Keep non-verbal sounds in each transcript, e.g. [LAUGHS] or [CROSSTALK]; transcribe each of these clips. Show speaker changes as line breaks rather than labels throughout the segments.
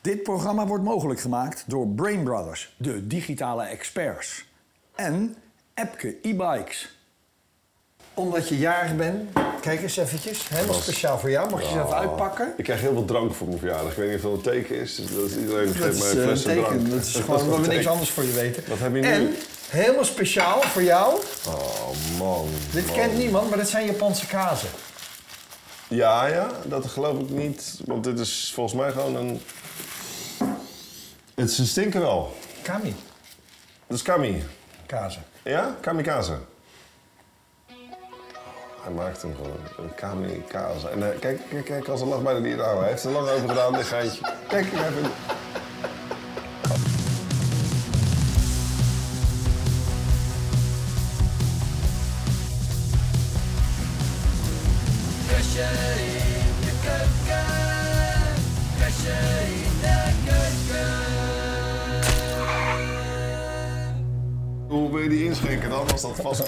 Dit programma wordt mogelijk gemaakt door Brain Brothers, de digitale experts. En Epke e-bikes. Omdat je jarig bent, kijk eens eventjes, helemaal
Was-
speciaal voor jou. Mag je ze even uitpakken?
Oh. Ik krijg heel veel drank voor mijn verjaardag. Ik weet niet of dat een teken is. Dus dat is iedereen
Dat
geeft
is
mij
eh, een
flessen
teken.
drank.
[LAUGHS] Dat
[LAUGHS]
is
wel
gewoon, we hebben
een
niks
teken.
anders voor je weten.
Wat heb je nu?
En, helemaal speciaal voor jou,
Oh man.
dit
man.
kent niemand, maar dit zijn Japanse kazen.
Ja, ja, dat geloof ik niet. Want dit is volgens mij gewoon een. Het is een stinker wel.
Kami
Dat is Kami.
kazen.
Ja? Kamikaze. Hij maakt hem gewoon. Een kamikaze. En eh, kijk, kijk, kijk, als een lach bijna niet aan. Hij heeft er lang over gedaan, dit geintje. Kijk, ik heb hem. Hoe wil je die inschenken dan? Was dat vast.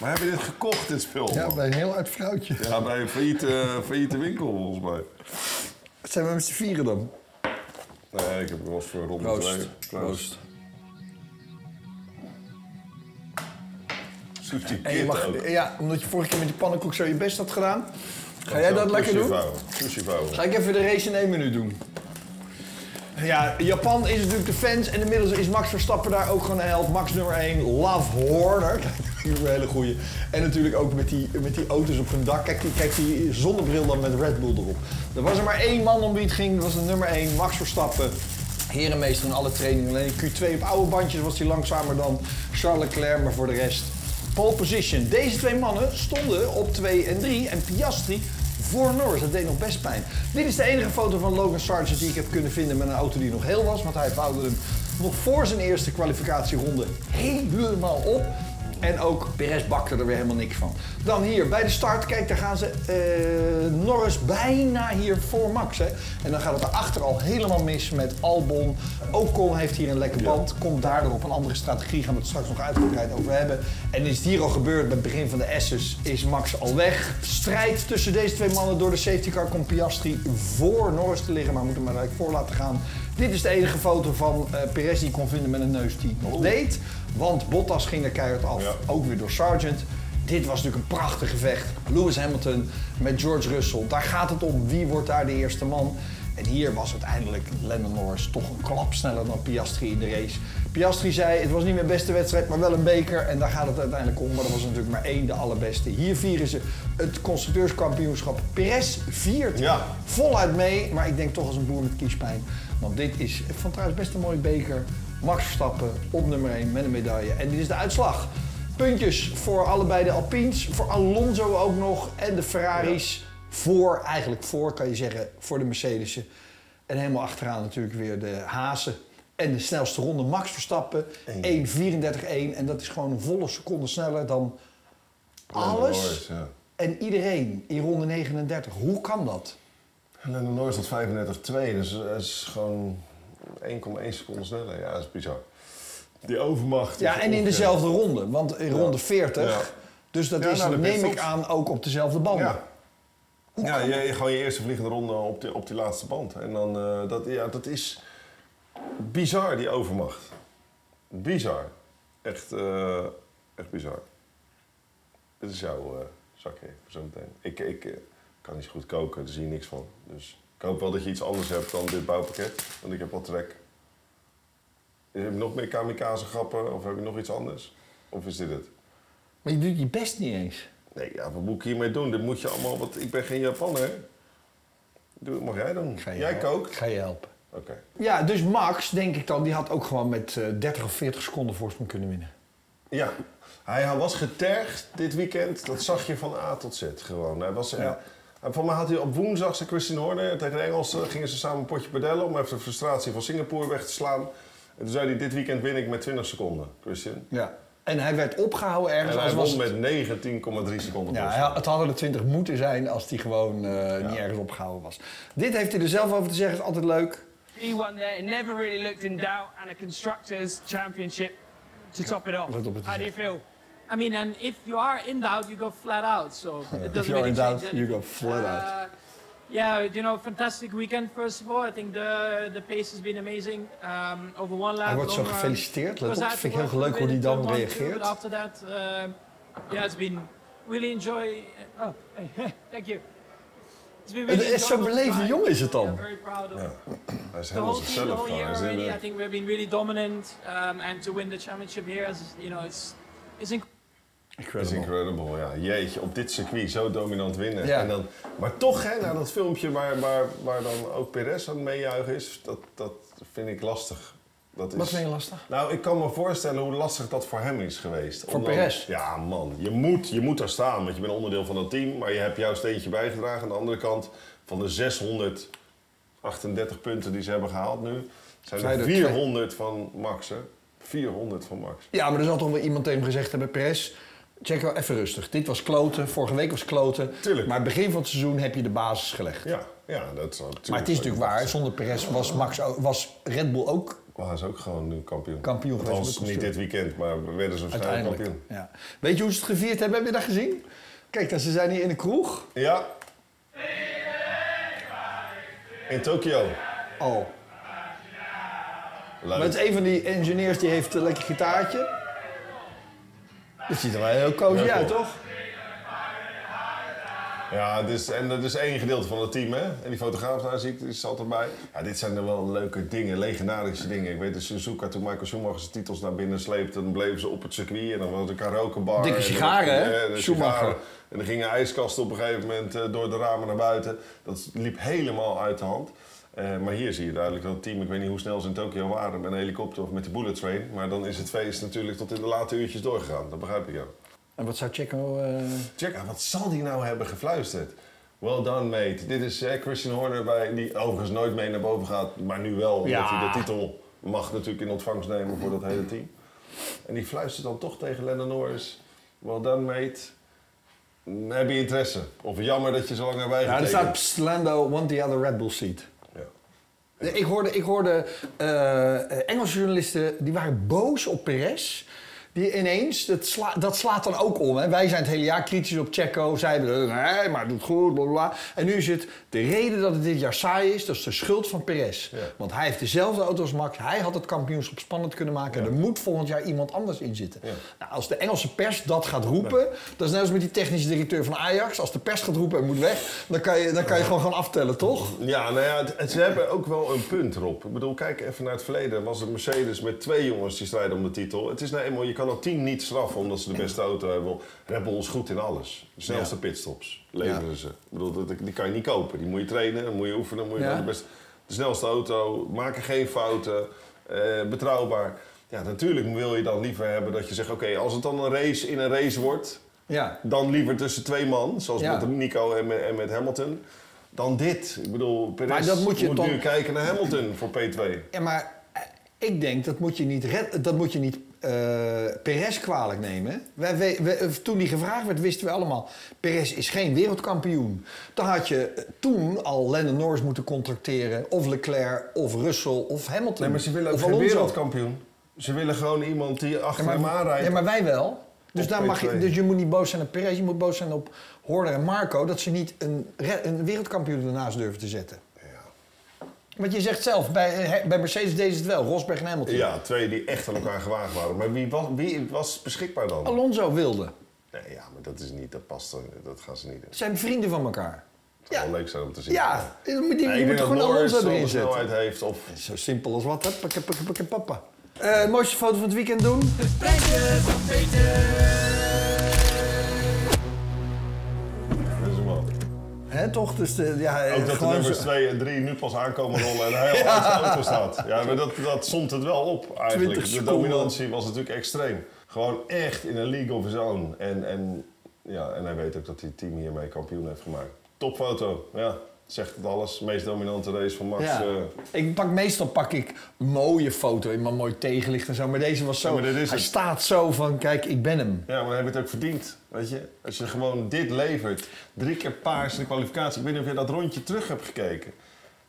Maar heb je dit gekocht, dit spul?
Ja,
man?
bij een heel oud vrouwtje.
Ja, bij een failliete, failliete winkel volgens mij.
Zijn we met z'n vieren dan?
Nee, ik heb hem wel eens voor rond
Proost.
twee.
Proost.
Zoek die
En je
kit
mag,
ook.
ja, omdat je vorige keer met die pannenkoek zo je best had gedaan. Ga jij
Zo,
dat lekker
sushi
doen?
Vouwen. Sushi vouwen.
Ga ik even de race in één minuut doen. Ja, Japan is natuurlijk de fans en inmiddels is Max Verstappen daar ook gewoon een held. Max nummer 1, Love Horner. [LAUGHS] Kijk, dat is een hele goeie. En natuurlijk ook met die, met die auto's op hun dak. Kijk die, kijk die zonnebril dan met Red Bull erop. Er was er maar één man om wie het ging, dat was de nummer 1, Max Verstappen. Herenmeester in alle trainingen. Alleen in Q2 op oude bandjes was hij langzamer dan Charles Leclerc, maar voor de rest pole position. Deze twee mannen stonden op 2 en 3 en Piastri voor Norris. Dat deed nog best pijn. Dit is de enige foto van Logan Sargent die ik heb kunnen vinden met een auto die nog heel was. Want hij vouwde hem nog voor zijn eerste kwalificatieronde helemaal op. En ook Perez bakte er weer helemaal niks van. Dan hier bij de start, kijk daar gaan ze eh, Norris bijna hier voor Max. Hè? En dan gaat het erachter al helemaal mis met Albon. Ocon heeft hier een lekke band, komt daardoor op een andere strategie. Gaan we het straks nog uitgebreid over hebben. En is het hier al gebeurd bij het begin van de S's, is Max al weg. Strijd tussen deze twee mannen door de safety car komt Piastri voor Norris te liggen. Maar moet hem maar gelijk voor laten gaan. Dit is de enige foto van eh, Perez die ik kon vinden met een neus die het nog deed. Want Bottas ging er keihard af.
Ja.
Ook weer door Sargent. Dit was natuurlijk een prachtig gevecht. Lewis Hamilton met George Russell. Daar gaat het om. Wie wordt daar de eerste man? En hier was uiteindelijk Lennon Norris toch een klap sneller dan Piastri in de race. Piastri zei, het was niet mijn beste wedstrijd, maar wel een beker. En daar gaat het uiteindelijk om. Maar er was natuurlijk maar één de allerbeste. Hier vieren ze het constructeurskampioenschap. Perez viert
Ja.
voluit mee. Maar ik denk toch als een boer met kiespijn. Want dit is van trouwens best een mooie beker. Max Verstappen op nummer 1 met een medaille. En dit is de uitslag. Puntjes voor allebei de Alpines. Voor Alonso ook nog. En de Ferraris. Voor, eigenlijk voor kan je zeggen, voor de Mercedes'en. En helemaal achteraan natuurlijk weer de Hazen. En de snelste ronde Max Verstappen. 1.34.1. En dat is gewoon een volle seconde sneller dan alles.
Norris, Oh, ja.
En iedereen in ronde 39. Hoe kan dat?
Lennon Norris had 35-2, dus dat is gewoon 1,1 seconde sneller. Ja, dat is bizar. Die overmacht.
Ja,
is
en in
ongekend.
dezelfde ronde, want in ronde 40.
Ja.
Dus dat
Ja,
is,
nou, dat
neem
best
ik
op.
aan, ook op dezelfde banden.
Ja. Ja, je, je- gewoon je eerste vliegende ronde op die, op die laatste band. En dan, eh, dat, ja, dat is bizar, die overmacht. Bizar. Echt, eh, echt bizar. Dit is jouw eh, zakje voor zometeen. Ik, ik eh, kan niet zo goed koken, daar zie je niks van. Dus ik hoop wel dat je iets anders hebt dan dit bouwpakket, want ik heb wat trek. Heb je nog meer kamikaze grappen of heb je nog iets anders? Of is dit het?
Maar je doet je best niet eens.
Nee, ja, wat moet ik hiermee doen? Dit moet je allemaal, want ik ben geen Japaner. Doe, dat mag jij doen?
Ik ga je
jij
helpen.
kookt?
Ik ga je helpen.
Oké.
Ja, dus Max, denk ik dan, die had ook gewoon met eh, 30 of 40 seconden voorsprong kunnen winnen.
Ja, hij was getergd dit weekend. Dat zag je van A tot Z gewoon. Hij was, eh,
Ja.
en van mij had hij op woensdag zijn Christine Horner tegen de Engelsen. Gingen ze samen een potje padellen om even de frustratie van Singapore weg te slaan. En toen zei hij, dit weekend win ik met 20 seconden, Christian.
Ja. En hij werd opgehouden ergens.
En hij
als
won
was het-
met 19,3 seconden.
Ja,
plus.
hij- het hadden er 20 moeten zijn als hij gewoon eh, niet ergens opgehouden was. Dit heeft hij er zelf over te zeggen, is altijd leuk.
B1 there, it never really looked in doubt, and a constructors' championship to top it off.
Right up at the
How do
top.
you feel?
I mean, and
[LAUGHS]
if you are in doubt, you go flat out. So it doesn't
you're
really
in
change
doubt, you
anything.
go flat out.
Uh, Yeah, you know, fantastic weekend. First of all, I think the the pace has been amazing. Um, over one lap.
Hij wordt zo
long run,
gefeliciteerd. Let
was
op,
hard
vind
to
ik heel
work
leuk hoe
with
die
it,
dan
uh, one, two,
reageert.
but after that, um, yeah, it's been really enjoy. Oh, hey, [LAUGHS] thank you. It's been
Het is zo'n
enjoyable
beleefde
ride.
jongen is het dan.
Yeah, very proud of
Hij is
the
helemaal
whole team, the
zichzelf
whole
gewoon.
year
Hij is in
already.
de-
I think we've been really dominant, um, and to win the championship here, is, you know, it's it's incredible.
is incredible, ja. Jeetje, op dit circuit zo dominant winnen.
Ja.
En dan, maar toch, hè, na dat filmpje waar, waar, waar dan ook Perez aan het meejuichen is, dat, dat vind ik lastig. Dat is,
Wat vind je lastig?
Nou, ik kan me voorstellen hoe lastig dat voor hem is geweest.
Voor
dan-
Perez?
Ja, man. Je moet, je moet daar staan, want je bent onderdeel van dat team. Maar je hebt jouw steentje bijgedragen. Aan de andere kant, van de 638 punten die ze hebben gehaald nu... zijn
Zijn er
er
twee.
400 van Max, hè. 400 van Max.
Ja, maar er zal toch wel iemand tegen hem gezegd hebben, Perez, check wel even rustig. Dit was kloten, vorige week was kloten.
Tuurlijk.
Maar begin van het seizoen heb je de basis gelegd.
Ja, ja dat is natuurlijk...
Maar het is natuurlijk waar, zonder Perez was, Max, ook- was Red Bull ook
Maar hij is ook gewoon nu kampioen.
Kampioen geweest
Althans,
met de
niet
constructeur.
dit weekend, maar we werden ze waarschijnlijk
uiteindelijk.
kampioen.
Ja. Weet je hoe ze het gevierd hebben? Heb je dat gezien? Kijk, daar- ze zijn hier in de kroeg.
Ja. In Tokio.
Al.
Leuk.
Maar het is een van die engineers die heeft een lekker gitaartje. Oh, Dat ziet er wel heel cozy
Ja,
uit,
cool.
toch?
Ja, dus, en dat is één gedeelte van het team, hè? En die fotograaf daar zie ik, die zat erbij. Ja, dit zijn er wel leuke dingen, legendarische dingen. Ik weet dat Suzuka, toen Michael Schumacher zijn titels naar binnen sleepte, dan bleven ze op het circuit en dan was het een karaokebar.
Dikke
En dan-
sigaren, hè?
Ja, de
Schumacher.
sigaren. En dan gingen ijskasten op een gegeven moment eh, door de ramen naar buiten. Dat liep helemaal uit de hand. Eh, maar hier zie je duidelijk dat het team, ik weet niet hoe snel ze in Tokio waren, met een helikopter of met de bullet train. Maar dan is het feest natuurlijk tot in de late uurtjes doorgegaan. Dat begrijp ik ook.
En wat zou Checo... eh,
Check, ah, wat zal die nou hebben gefluisterd? Well done, mate. Dit is eh, Christian Horner, bij, die overigens nooit mee naar boven gaat, maar nu wel, omdat
Ja.
hij de titel mag natuurlijk in ontvangst nemen voor dat hele team. En die fluistert dan toch tegen Lennon Norris, well done, mate. Mm, Heb je interesse? Of jammer dat je zo lang erbij
Ja, er
getekend
staat "Psst, Lando, want the other Red Bull seat.
Ja.
Nee, Ik hoorde, ik hoorde eh, Engelse journalisten, die waren boos op Perez. Die ineens, dat, sla- dat slaat dan ook om. Hè? Wij zijn het hele jaar kritisch op Checo. Zij hebben, eh, nee, maar het doet goed, bla bla, bla. En nu is het, de reden dat het dit jaar saai is, dat is de schuld van Perez.
Ja.
Want hij heeft dezelfde auto als Max. Hij had het kampioenschap spannend kunnen maken. Er moet volgend jaar iemand anders in zitten.
Ja.
Nou, als de Engelse pers dat gaat roepen, dat is net als met die technische directeur van Ajax. Als de pers gaat roepen en moet weg, dan kan je, dan kan je gewoon gaan aftellen, toch?
Ja, nou ja, het- het- ze hebben ook wel een punt, Rob. Ik bedoel, kijk even naar het verleden. Was het Mercedes met twee jongens die strijden om de titel? Het is nou eenmaal, je kan een team niet straffen omdat ze de beste auto hebben. Red Bull is goed in alles. De snelste pitstops leveren
Ja.
ze. Ik bedoel, dat, die kan je niet kopen. Die moet je trainen, dan moet je oefenen, dan moet je
Ja.
naar de beste... De snelste auto, maken geen fouten, eh, betrouwbaar. Ja, natuurlijk wil je dan liever hebben dat je zegt... oké, als het dan een race in een race wordt...
Ja.
dan liever tussen twee man, zoals
Ja.
met Nico en met, en met Hamilton, dan dit. Ik bedoel, Perez
Maar dat moet
moet,
je toch-
nu kijken naar Hamilton voor P2.
Ja, maar eh, ik denk dat moet je niet, red, dat moet je niet eh, Perez kwalijk nemen. Wij, wij- wij- eh, toen die gevraagd werd, wisten we allemaal: Perez is geen wereldkampioen. Dan had je eh, toen al Lennon Norris moeten contracteren, of Leclerc, of Russell, of Hamilton.
Nee, maar ze willen ook
of
geen
Alonso.
wereldkampioen. Ze willen gewoon iemand die
Ja,
achter
maar,
hem aanrijdt.
ja, maar wij wel. Dus,
Op
daar mag je,
P2.
dus je moet niet boos zijn op Perez, je moet boos zijn op Horner en Marco dat ze niet een, re- een wereldkampioen ernaast durven te zetten. Want je zegt zelf, bij, eh, he- bij Mercedes deed ze het wel, Rosberg en Hamilton.
Ja, twee die echt aan elkaar gewaagd waren. Maar wie was, wie was beschikbaar dan?
Alonso wilde.
Nee, ja, maar dat is niet, dat past, er- dat gaan ze niet doen. Het
zijn vrienden van elkaar.
zou
Ja.
wel leuk zijn om te zien.
Ja, je moet,
Nee,
die,
ik
je moet
denk dat
gewoon
Norris
Alonso
wel de
erin zetten.
snelheid heeft of
Zo simpel als wat, hè? Pakken, pakken, pakken, papa. Eh, mooiste foto van het weekend doen?
dat is hem wel.
Hè, toch? Dus de, ja, eh,
Ook dat de
gewoon
nummers
zo-
2 en 3 nu pas aankomen rollen en
[LAUGHS]
hij al uit zijn auto staat. Ja, maar dat, dat somt het wel op eigenlijk.
20
De
seconden.
dominantie was natuurlijk extreem. Gewoon echt in een league of his own. En, en, ja, en hij weet ook dat hij het team hiermee kampioen heeft gemaakt. Topfoto, ja. Zegt het alles. Meest dominante race van Max.
Ja.
eh.
Ik pak, meestal pak ik een mooie foto in mijn mooi tegenlicht en zo. Maar deze was zo.
Ja, maar dit is
hij
het.
staat zo van: kijk, ik ben hem.
Ja, maar dan heb je het ook verdiend. Weet je, als je gewoon dit levert. Drie keer paars in de kwalificatie. Ik weet niet of je dat rondje terug hebt gekeken.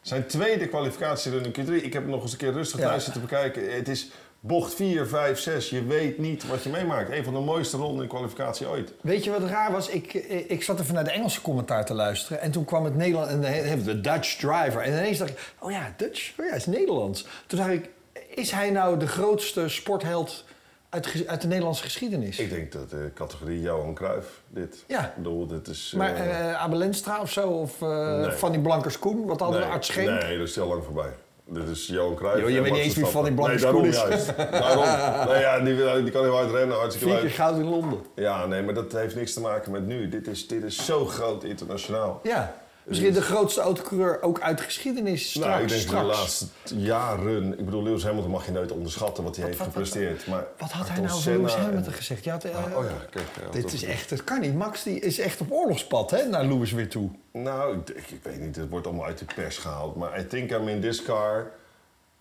Zijn tweede kwalificatie in Q3. Ik heb hem nog eens een keer rustig
Ja.
thuis zitten bekijken. Het is Bocht 4, 5, 6, je weet niet wat je meemaakt. Een van de mooiste ronden in kwalificatie ooit.
Weet je wat raar was? Ik, eh, ik ik zat even naar de Engelse commentaar te luisteren. En toen kwam het Nederland en dan hebben we de Dutch driver. En ineens dacht ik, oh ja, Dutch? Oh ja, hij is Nederlands. Toen dacht ik, is hij nou de grootste sportheld uit, ge- uit de Nederlandse geschiedenis?
Ik denk dat de categorie Johan Cruijff dit.
Ja.
Ik bedoel, dit is...
maar
eh,
eh Abel Enstra of zo, of eh
Nee.
Fanny Blankers-Koen, wat hadden we arts geen?
Nee, dat is heel lang voorbij. Dit is Johan Cruijff.
Joh, je
en
weet niet
Max
eens wie
Verstappen.
Van die
Nee,
blanke
daarom juist. Daarom. Nee, ja, die, die kan heel hard rennen, hartstikke
Vier keer
leuk.
goud in Londen.
Ja, nee, maar dat heeft niks te maken met nu. Dit is, dit is zo groot internationaal.
Ja. Misschien de grootste autocoureur ook uit de geschiedenis. Straks,
nou, ik denk
straks.
de laatste t- jaren... Ik bedoel, Lewis Hamilton mag je nooit onderschatten wat hij heeft
wat- wat-
gepresteerd. maar
Wat had hij
Ayrton
nou over Lewis
Senna en-
Hamilton gezegd? Je had, eh,
Ah, oh ja, kijk. ja,
dit
dat-
is echt, dat kan niet. Max die is echt op oorlogspad hè, naar Lewis weer toe.
Nou, ik, ik, ik weet niet, het wordt allemaal uit de pers gehaald. Maar I think I'm in this car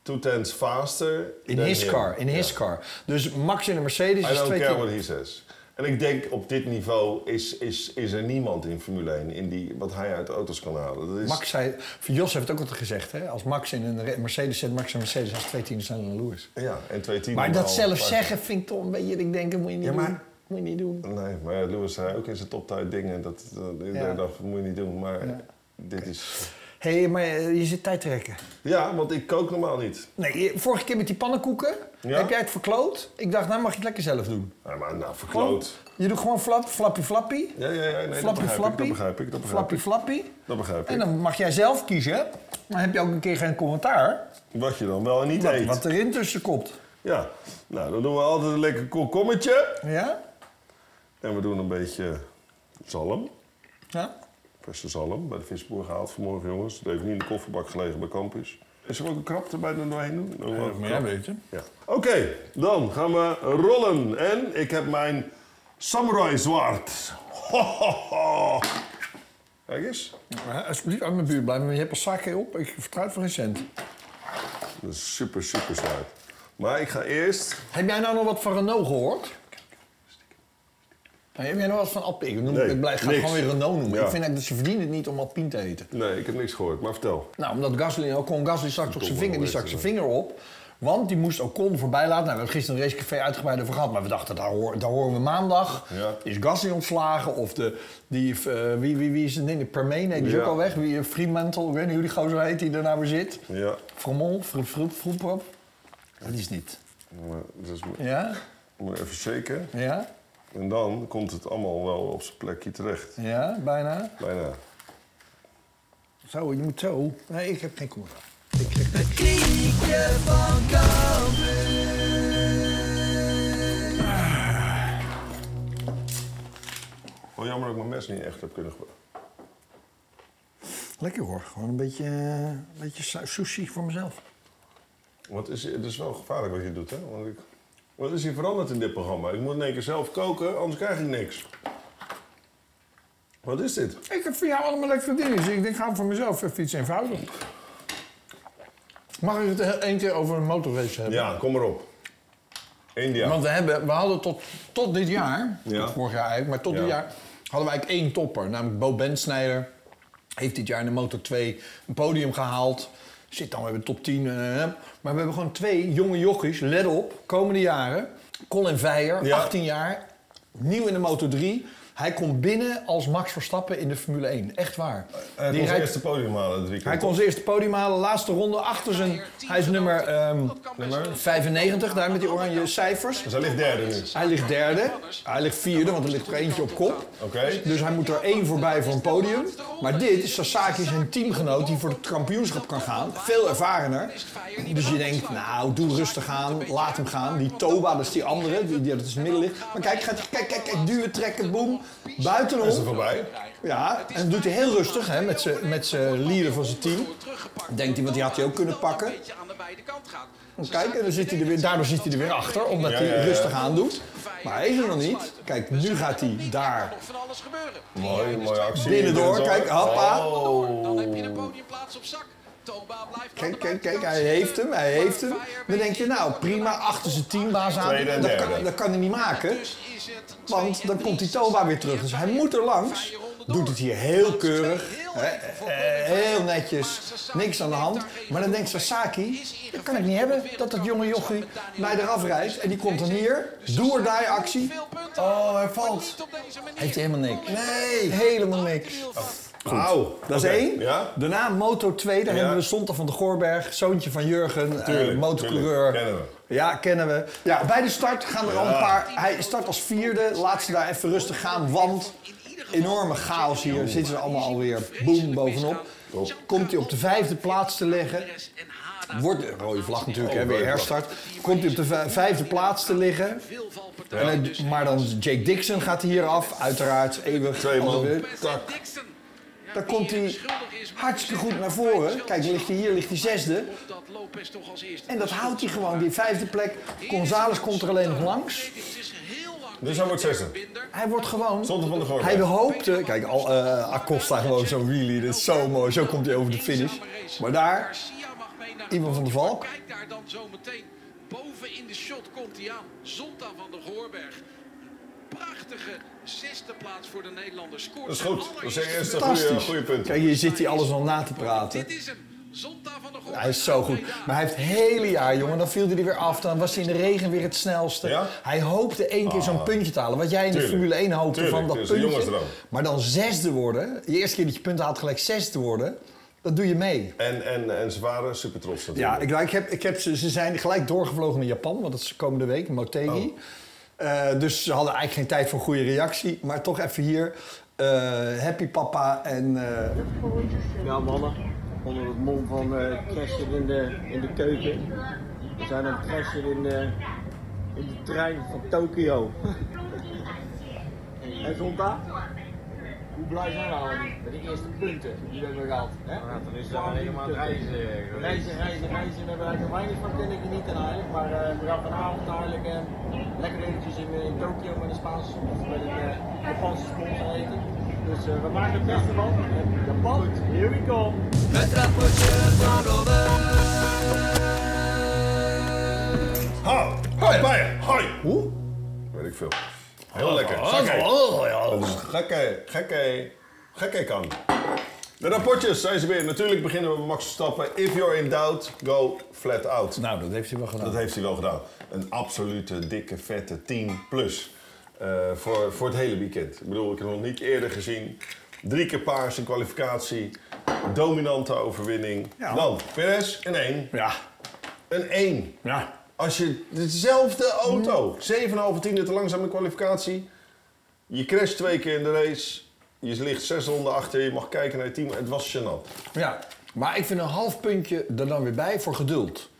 two tenths faster.
In
than
his
him.
car, in his
Ja.
car. Dus Max in een Mercedes
I
is
don't
twee
care
keer...
what he says. En ik denk op dit niveau is, is, is er niemand in Formule 1 in die, wat hij uit de auto's kan halen. Dat is,
Max zei, Jos heeft ook altijd gezegd, hè? als Max in een re- Mercedes zit, Max in een Mercedes als twee tienen zijn dan Lewis.
Ja, en twee tienden.
Maar dat
al.
zelf
Maar-
zeggen vind ik toch een beetje, ik denk, dat moet je niet
Ja, maar-
doen. Moet je niet doen.
Nee, maar ja, Lewis zei ook in zijn toptijd dingen. Dat, dat,
Ja.
dat moet je niet doen, maar dit is...
Hé, maar eh, je zit tijd te rekken.
Ja, want ik kook normaal niet.
Nee, je- vorige keer met die pannenkoeken,
Ja?
heb jij het verkloot? Ik dacht, nou mag je het lekker zelf doen.
Ja, maar nou, verkloot.
Je doet gewoon flap, flappie flappie.
Ja, ja, ja, nee, dat
flappie
begrijp ik, dat
flappie.
begrijp ik, dat begrijp
Flappie
ik.
flappie.
Dat begrijp
En
ik.
dan mag jij zelf kiezen. hè? Dan heb je ook een keer geen commentaar.
Wat je dan wel en niet
Wat,
eet.
wat erin tussen komt.
Ja, nou, dan doen we altijd een lekker komkommetje.
Ja?
En we doen een beetje zalm.
Ja?
Verse zalm bij de visboer gehaald vanmorgen, jongens. Dat heeft niet in de kofferbak gelegen bij Campus. Is er ook een krap erbij dan doorheen doen? Nog wel een krap?
weten.
Ja. Oké, dan gaan we rollen. En ik heb mijn samurai zwaard. Ho, ho, ho. Kijk eens.
eh, Alsjeblieft uit mijn buurt blijven, want je hebt een zakje op. Ik vertrouw het voor geen cent.
Dat is super, super zwaard. Maar ik ga eerst...
Heb jij nou nog wat van Renault gehoord? Nee, heb jij nog wat van Alpine? Ik, noem,
Nee,
ik blijf, ga
niks.
gewoon weer Renault noemen.
Ja.
Ik vind eigenlijk dat ze verdienen het niet om Alpine te eten.
Nee, ik heb niks gehoord, maar vertel.
Nou, omdat Gasly, Ocon Gasly stak toch zijn
Domme
vinger, die stak zijn vinger op. Want die moest Ocon voorbij laten. Nou, we hebben gisteren een racecafé uitgebreid over gehad. Maar we dachten, daar, hoor- daar horen we maandag.
Ja.
Is Gasly ontslagen? Of de, die, eh, wie, wie, wie is het ding? De Permee? Nee, die is
Ja.
ook al weg. Wie, eh, Fremantle, ik weet niet hoe die gozer heet die daarna weer zit.
Ja.
Fromon, Froep, Froep, Froep, Froep. Dat is niet.
Maar, dus
Ja?
moet even shaken.
Ja?
En dan komt het allemaal wel op zijn plekje terecht.
Ja? Bijna?
Bijna.
Zo, je moet zo. Nee, ik heb geen commentaar.
Oh, jammer dat ik mijn mes niet echt heb kunnen gebruiken.
Lekker hoor. Gewoon een beetje, eh, een beetje su- sushi voor mezelf.
Want is, het is wel gevaarlijk wat je doet, hè? Want ik, wat is hier veranderd in dit programma? Ik moet in één keer zelf koken, anders krijg ik niks. Wat is dit?
Ik heb voor jou allemaal lekkere dingen. Dus ik denk, ga voor mezelf even iets eenvoudig. Mag ik het he- één keer over een motorrace hebben?
Ja, kom maar op. India.
Want we, hebben, we hadden tot, tot dit jaar,
Ja.
tot vorig jaar eigenlijk, maar tot dit
Ja.
jaar hadden we eigenlijk één topper. Namelijk Bo Bensnijder. Heeft dit jaar in de Motor 2 een podium gehaald. Zit dan weer in de top 10. eh, maar we hebben gewoon twee jonge jochies, let op, komende jaren. Colin Veijer,
Ja.
18 jaar, nieuw in de Motor 3. Hij komt binnen als Max Verstappen in de Formule 1. Echt waar.
Hij
Die
kon zijn
rijdt-
eerste podium halen drie keer.
hij kon zijn eerste podium halen, laatste ronde achter zijn. Hij is nummer ehm,
Nummer?
95, daar met die oranje cijfers.
Dus hij ligt derde nu.
Hij ligt derde, hij ligt vierde, want er ligt er eentje op kop.
Oké.
Dus hij moet er één voorbij voor een podium. Maar dit is Sasaki zijn teamgenoot die voor het kampioenschap kan gaan. Veel ervarener. Dus je denkt, nou, doe rustig aan, laat hem gaan. Die Toba, dat is die andere, die, die dat is middenlicht. Maar kijk, gaat, kijk, kijk, kijk, duwen, trekken, boem. Buitenom.
Is er voorbij?
Ja, en dat doet hij heel rustig hè, met zijn met zijn leader van zijn team. Denkt hij, want die had hij ook kunnen pakken. Kijk, en dan zit hij er weer, daardoor zit hij er weer achter, omdat
Ja,
hij
ja, ja.
rustig aan doet. Maar hij is er nog niet. Kijk, nu gaat hij daar
Van alles gebeuren. dus
Mooi,
dus
mooie actie.
binnendoor.
Binnendoor.
Kijk, hoppa.
Oh.
Dan heb je de podiumplaats op zak. Toba blijft aan
Oh. Kijk,
de
kijk, kijk,
buitenkant
hij
zitten.
heeft hem, hij heeft hem.
Fire
Dan
weet
denk je, nou prima, achter zijn teambaas aan.
Tweede en
Dat kan,
derde.
dat kan hij niet maken,
Dus is het twee
want
en
dan
drie.
komt die Toba weer terug. Dus hij dus moet er langs.
door.
doet het hier heel
Laatste twee,
keurig.
heel
hè,
even voor
eh,
Colin
heel
Farrell.
netjes,
Maar Sasaki
niks aan de
neemt
hand.
daar geen
Maar dan
genoegen
denkt
mee.
Sasaki,
Is in
dat kan ik
gevecht
niet hebben,
voor de
dat dat jonge
wereldkampioenschap
jochie
met Daniel
mij eraf
Bryan.
rijdt. En die komt dan hier,
Dus
doe er
Sasaki
die actie.
veel punten.
Oh, hij
Maar
valt.
niet op deze manier.
Heeft hij helemaal niks.
Nee.
Helemaal niks.
Wauw.
Dat is
Oké,
één.
Ja?
Daarna Moto 2, daar
Ja.
hebben we Sonta van de Goorberg, zoontje van Jurgen, eh
Tuurlijk,
motorcoureur.
tuurlijk, kennen we.
Ja, kennen we. Ja, bij de start gaan er al een paar. Hij start als vierde, laat ze daar even rustig gaan, want enorme chaos hier. Zitten ze allemaal alweer boem bovenop. Komt hij op de vijfde plaats te leggen. Wordt een rode vlag natuurlijk, hè, weer herstart. Komt hij op de vij- vijfde plaats te liggen. En hij- maar dan Jake Dixon gaat hier af, uiteraard eeuwig.
Twee man.
altijd weer.
Tak.
Daar komt hij hartstikke goed naar voren. Kijk, dan ligt hij hier, ligt hij zesde. En dat houdt hij gewoon, die vijfde plek. González komt er alleen nog langs.
Dus hij wordt zesde.
Hij wordt gewoon...
Zonde van de Goorberg.
Hij hoopte... Kijk, al, eh, Acosta gewoon zo'n wheelie. Dat is zo mooi. Zo komt hij over de finish. Maar daar... Ivan van der Valk.
Kijk daar dan zo meteen. Boven in de shot komt hij aan. Zonta van der Goorberg. Prachtige zesde plaats voor de Nederlander. Scoort
Dat is
zijn
goed. Dat is
allereerste
eerst een goede,
Fantastisch.
goede punt.
Kijk, hier zit hij alles al na te praten.
Dit is hem. Zonta van der Goorberg.
Hij is zo goed. Maar hij heeft het hele jaar, jongen, dan viel hij er weer af. Dan was hij in de regen weer het snelste.
Ja?
Hij hoopte één keer zo'n puntje te halen. Wat jij in de
Tuurlijk.
Formule 1 hoopte
Tuurlijk,
van dat
dat is een
puntje.
jongensdroom.
Maar dan zesde worden. De eerste keer dat je punten haalt, gelijk zesde worden. Dat doe je mee.
En, en, en ze waren super trots
Ja,
natuurlijk.
ik, nou, ik heb, ik heb ze, ze zijn gelijk doorgevlogen naar Japan, want dat is komende week, Motegi. Eh, dus ze hadden eigenlijk geen tijd voor een goede reactie. Maar toch even hier. eh, happy papa en... eh,
Nou mannen, onder het mom van eh crashen in de, in de keuken. We zijn aan het crashen in de, in de trein van Tokio. [LAUGHS] Hé Zonta, hoe blij zijn we allemaal met de eerste punten die we hebben gehad? Hè? Ja, dan is daar helemaal reizen. eh, Reizen, reizen, reizen. We hebben er eigenlijk weinig van kunnen genieten eigenlijk. Maar eh, we gaan vanavond eigenlijk eh, lekker eventjes in, eh, in Tokio met een Spaanse sponsor, met een eh, Japanse sponsor eten. Dus eh, we maken het beste van. En Japan, here we go.
Ha! Hoi! Bijen! Hoi! Hoe? Oh, Weet ik veel. Heel lekker. Gekke. Gekke. Gekke. Gekke kan. De rapportjes zijn ze weer. Natuurlijk beginnen we met Max Verstappen. If you're in doubt, go flat out.
nou, dat heeft hij wel gedaan.
Dat heeft hij wel gedaan. Een absolute dikke, vette 10 plus. eh, voor, voor het hele weekend. Ik bedoel, ik heb het nog niet eerder gezien. Drie keer paars in kwalificatie. Dominante overwinning.
Ja.
Dan Perez, een 1.
Ja,
Een 1.
ja.
Als je dezelfde auto, 7,5 tiende te langzaam in kwalificatie. Je crasht twee keer in de race. Je ligt zes ronden achter. Je mag kijken naar je team. Het was gênant.
Ja, maar ik vind een half puntje er dan weer bij voor geduld.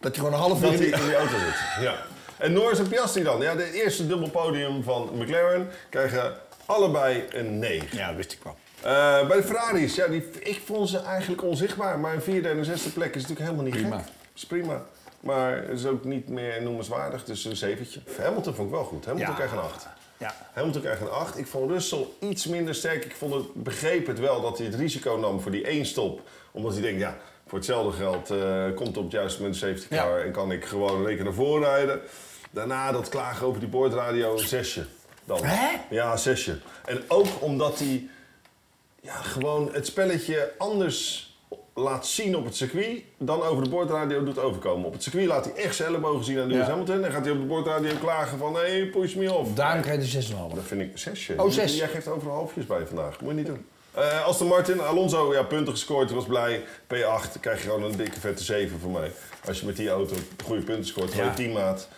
Dat je gewoon een half uur...
Dat
in
hij
die-
in die auto zit. Ja. En Norris en Piastri dan. Ja, de eerste dubbelpodium van McLaren krijgen allebei een 9.
Ja, wist ik wel.
Eh, bij de Ferraris, ja, die, ik vond ze eigenlijk onzichtbaar. Maar een vierde en een zesde plek is natuurlijk helemaal niet
Prima.
gek. is prima. Maar het is ook niet meer noemenswaardig, dus een zeventje. Hamilton vond ik wel goed. Hamilton
Ja.
krijgt een 8.
Ja.
Hamilton krijgt een 8. Ik vond Russell iets minder sterk. Ik vond het, begreep het wel dat hij het risico nam voor die één stop. Omdat hij denkt, ja, voor hetzelfde geld eh, komt op het juiste moment een safety car...
Ja.
en kan ik gewoon een keer naar voren rijden. Daarna dat klagen over die boordradio, een zesje. Dan.
Hè?
Ja, een zesje. En ook omdat hij ja, gewoon het spelletje anders laat zien op het circuit dan over de boordradio doet overkomen. Op het circuit laat hij echt zijn ellebogen zien aan Lewis
Ja.
Hamilton. Dan gaat hij op de boordradio klagen van, hé, hey, push me off.
Daarom krijg je 6,5.
Dat vind ik zesje.
Oh, zes.
Jij geeft overal halfjes bij vandaag. Moet je niet doen. Eh Aston Martin, Alonso, ja, punten gescoord, was blij. P8, krijg je gewoon een dikke vette 7 van mij. Als je met die auto goede punten scoort, van
Ja.
je teammaat.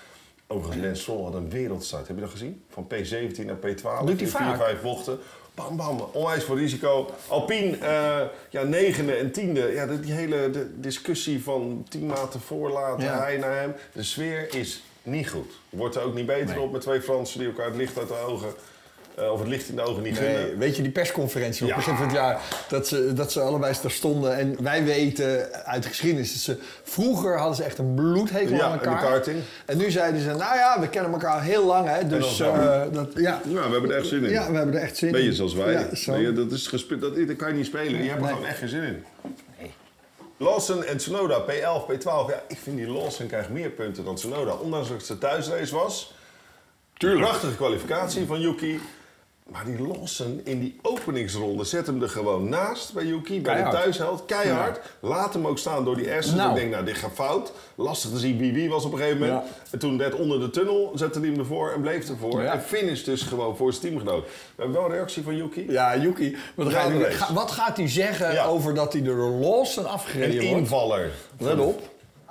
Overigens, Lens Stroll had een wereldstart. Heb je dat gezien? Van P17 naar P12.
Doet hij
in
vaak.
4, 5 bochten. Bam, bam. Onwijs voor risico. Alpine, eh, ja, negende en tiende. Ja, de- die hele de discussie van teammaten voorlaten,
Ja.
hij naar hem. De sfeer is niet goed. Wordt er ook niet beter op met twee Fransen die elkaar het licht uit de ogen... eh, of het licht in de ogen niet
Nee,
gunnen.
weet je die persconferentie op
Eh, Ja.
het begin van het jaar? Dat ze, dat ze allebei daar stonden. En wij weten uit de geschiedenis dat ze... Vroeger hadden ze echt een bloedhekel
Ja,
aan
en de
elkaar.
karting.
En nu zeiden ze, nou ja, we kennen elkaar al heel lang, hè. Dus
dan zo.
eh, dat, ja.
Nou, we hebben er echt zin in.
ja, we hebben er echt zin in.
Ben je zoals wij?
Ja, zo.
Nee, dat, is gespe- dat, dat kan je niet spelen. Je hebt er
Nee.
gewoon echt geen zin in. Lawson en Tsunoda, P11, P12. Ja, ik vind die Lawson krijgt meer punten dan Tsunoda. Ondanks dat het zijn thuisrace was. Tuurlijk. Prachtige kwalificatie van Yuki. Maar die Lawson in die openingsronde zet hem er gewoon naast bij Yuki, bij
Keihard.
de thuisheld. Keihard. Laat hem ook staan door die Aston.
Nou.
Ik denk, nou, dit gaat fout. Lastig te zien wie wie was op een gegeven moment.
Ja.
En toen net onder de tunnel zette hij hem ervoor en bleef ervoor.
Ja.
En finish dus gewoon voor zijn teamgenoot. We hebben wel een reactie van Yuki.
Ja, Yuki. Wat,
Ja,
gaat,
de
hij-
race.
ga- wat gaat hij zeggen
Ja.
over dat hij door Lawson
Een
afgereden wordt?
invaller.
Let op.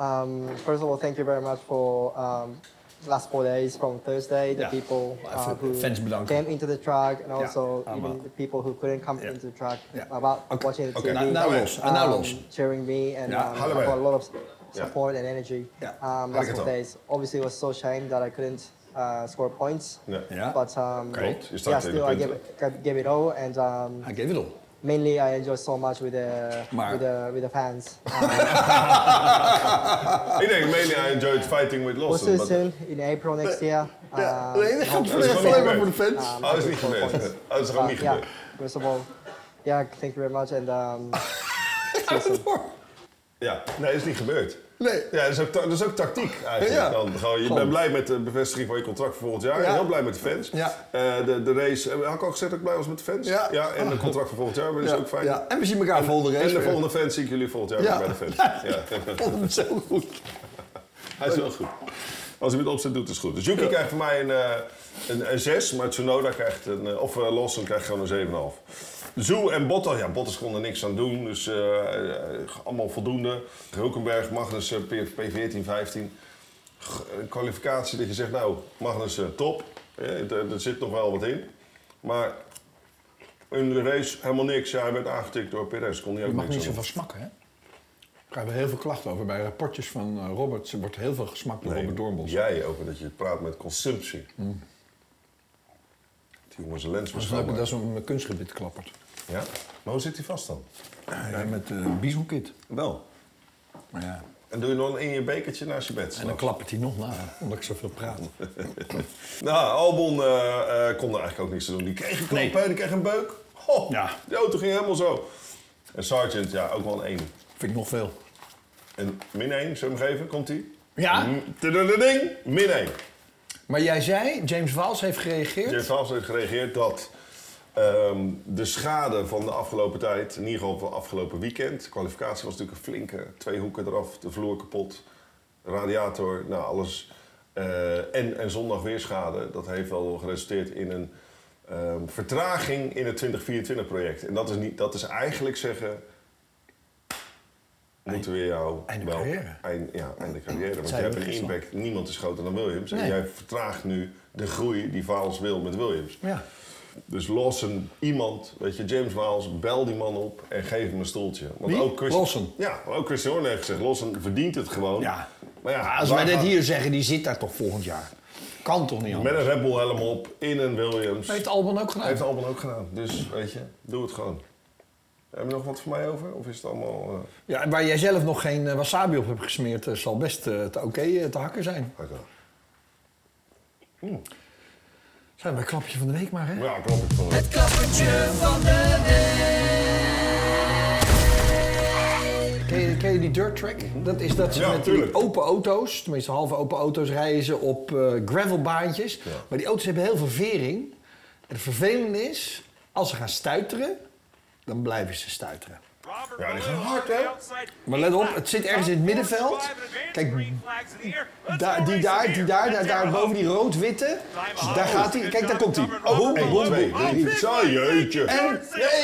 Um, first of all, thank you very much for um, last four days from Thursday, the
Yeah.
people
Well,
uh,
f-
who
fans belong.
came into the track and
Yeah.
also
Um,
even
uh,
the people who couldn't come
yeah.
into the track
Yeah.
about
Okay.
watching the
Okay.
TV,
Nou, nou
Oké.
los. En nou
um,
los.
cheering me, and
Yeah.
um, I
Holloway.
got a lot of s-
Yeah.
support and energy
Yeah.
um,
Like
last
it
four
all.
days. Obviously, it was so shame that I couldn't uh, score points,
Ja.
Yeah.
but um,
Great. You
yeah,
started
still
the
I gave
points,
it, gave- gave it all and. Um,
Hij geeft het op.
Mainly, I enjoy so much with the
Maar-
with the with the fans.
Ik denk, mainly I enjoyed fighting with
We'll
Lawson.
see you
but-
soon in April next year.
Ah,
Ja,
Um,
nee, [LAUGHS]
[LAUGHS]
dat gaat voor de
is
rest
gewoon
alleen
niet
maar voor de fans.
um,
Oh, dat is
I
niet
think
gebeurd.
for-
Oh, dat is gewoon
uh,
niet
yeah,
gebeurd.
first of all, yeah, thank you very much and um,
Ja, nee, is niet gebeurd.
Nee.
Ja, dat is ook, ta- dat is ook tactiek eigenlijk.
Ja.
Dan, gewoon, je
Gewoon.
bent blij met de bevestiging van je contract voor volgend jaar.
Ja.
Heel blij met de fans.
Ja.
Eh, de, de race, eh, had ik al gezegd dat ik blij was met de fans?
Ja.
en het contract voor volgend jaar, maar dat
Ja,
is ook fijn.
ja. En we zien elkaar volgende race
En de
weer. [LAUGHS]
volgende fans zie ik jullie volgend jaar
Ja.
weer bij de
[LAUGHS]
fans. Ja.
Ik vond hem zo goed.
Hij is wel goed. Als hij met opzet doet, is het goed. Dus Yuki krijgt van mij een, eh, een, een 6, maar Tsunoda krijgt een... eh, Of eh, Lawson krijgt gewoon een 7,5. Zoe en Bottas, ja, Bottas kon er niks aan doen. Dus eh, eh, allemaal voldoende. Hulkenberg, Magnussen, P- P14, 15. G- eh, kwalificatie dat je zegt, nou, Magnussen, top. Eh, d- er zit nog wel wat in. Maar in de race helemaal niks. Ja, hij werd aangetikt door Perez. Kon hij ook
Je mag
niks
niet
aan
zoveel smakken, hè? Daar hebben we heel veel klachten over. Bij rapportjes van eh, Robert wordt heel veel gesmakt door
doen.
Robert
Nee,
Doornbos.
jij over dat je praat met consumptie. Die jongens een lens
Dat
was
is leuk
schoonmaken.
dat ze op mijn kunstgebied klappert.
Ja? Maar hoe zit hij vast dan?
Ja, met een biezoenkit.
Wel.
Ja.
En doe je dan in je bekertje naast je bed?
En dan
s'nachts?
klappert hij nog na, omdat ik zoveel praat.
Nou, Albon eh, eh, kon er eigenlijk ook niks te doen. Die kreeg een klap,
Nee.
hè, die kreeg een beuk. Ho,
Ja.
Die auto ging helemaal zo. En Sargent, ja, ook wel een 1.
Vind ik nog veel.
En min 1, zullen we hem geven? Komt ie?
Ja.
Mm, tudududing, Min 1.
Maar jij zei, James Waals heeft gereageerd.
James Haas heeft gereageerd dat ehm, de schade van de afgelopen tijd, in ieder geval van het afgelopen weekend, de kwalificatie was natuurlijk een flinke, twee hoeken eraf, de vloer kapot, radiator, nou alles. Eh, en, en zondag weer schade, dat heeft wel geresulteerd in een ehm, vertraging in het 2024-project. En dat is, niet, dat is eigenlijk zeggen. Moeten we jou
einde
wel
carrière.
eind, ja, einde carrière. Want jij
Zeiden
hebt
we
een
gisteren.
impact, niemand is groter dan Williams. En
Nee.
jij vertraagt nu de groei die Vaals wil met Williams.
Ja.
Dus Lawson, iemand, weet je, James Waals, bel die man op en geef hem een stoeltje. Want
Wie?
Chris-
Lawson?
Ja, maar ook Christian Horner heeft gezegd, Lawson verdient het gewoon.
Ja.
Maar ja,
Als wij
waar
dit
gaat-
hier zeggen, die zit daar toch volgend jaar. Kan toch niet
Met
anders?
een Red Bull helm op, in een Williams.
Heeft Alban ook gedaan.
Heeft Alban ook gedaan. Dus, weet je, doe het gewoon. Heb je nog wat voor mij over? Of is het allemaal... eh,
Ja, en waar jij zelf nog geen eh, wasabi op hebt gesmeerd, eh, zal best eh, te oké eh, te hakken zijn.
oké.
Zijn we bij klapje van de week maar, hè?
Ja, klopt. Ik vond het.
Ken je, ken je die dirt track? Dat is dat ze
Ja,
met die
tuurlijk.
open auto's, tenminste halve open auto's, reizen op eh, gravelbaantjes. Maar die auto's hebben heel veel vering. En het vervelende is, als ze gaan stuiteren, dan blijven ze stuiteren.
Ja, die gaan hard, hè?
Maar let op, het zit ergens in het middenveld. Kijk, daar, Ah, die daar, die daar, daar, daar boven die rood-witte. Daar gaat hij. Kijk, daar komt hij.
Oh,
Boom,
één,
boom,
twee,
boom.
drie. Zo, jeetje.
En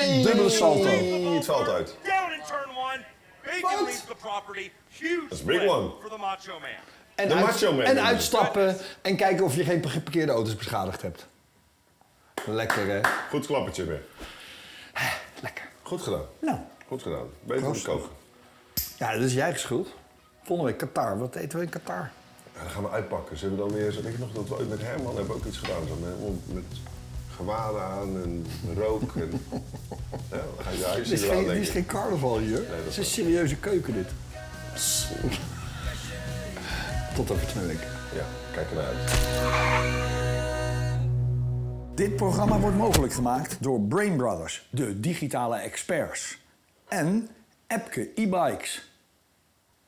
Nee,
dubbele salto.
Het valt uit.
Down in turn one. Bacon
Wat?
leaves the property. Huge
That's a big
win
one.
for the Macho Man.
En,
De macho man.
en uitstappen en kijken of je geen geparkeerde auto's beschadigd hebt. Lekker, hè?
Goed klappertje weer.
Lekker.
Goed gedaan.
Nou.
Goed gedaan. Beter dan
Proost.
koken.
Ja, dat is jij geschuld. Volgende week Qatar. Wat eten we in Qatar?
Ja, dan gaan we uitpakken. Zullen we dan weer... zo- Weet je nog dat we ooit met Herman hebben ook iets gedaan? Zo met, met gewaden aan en rook en...
[LAUGHS]
ja, dan ga je daar
Dit is,
iets
geen,
aan
dit is
denken.
geen carnaval hier. Het is een serieuze keuken, dit. Tot over twee weken.
Ja, kijk ernaar uit.
Dit programma wordt mogelijk gemaakt door Brain Brothers, de digitale experts. En Epke e-bikes.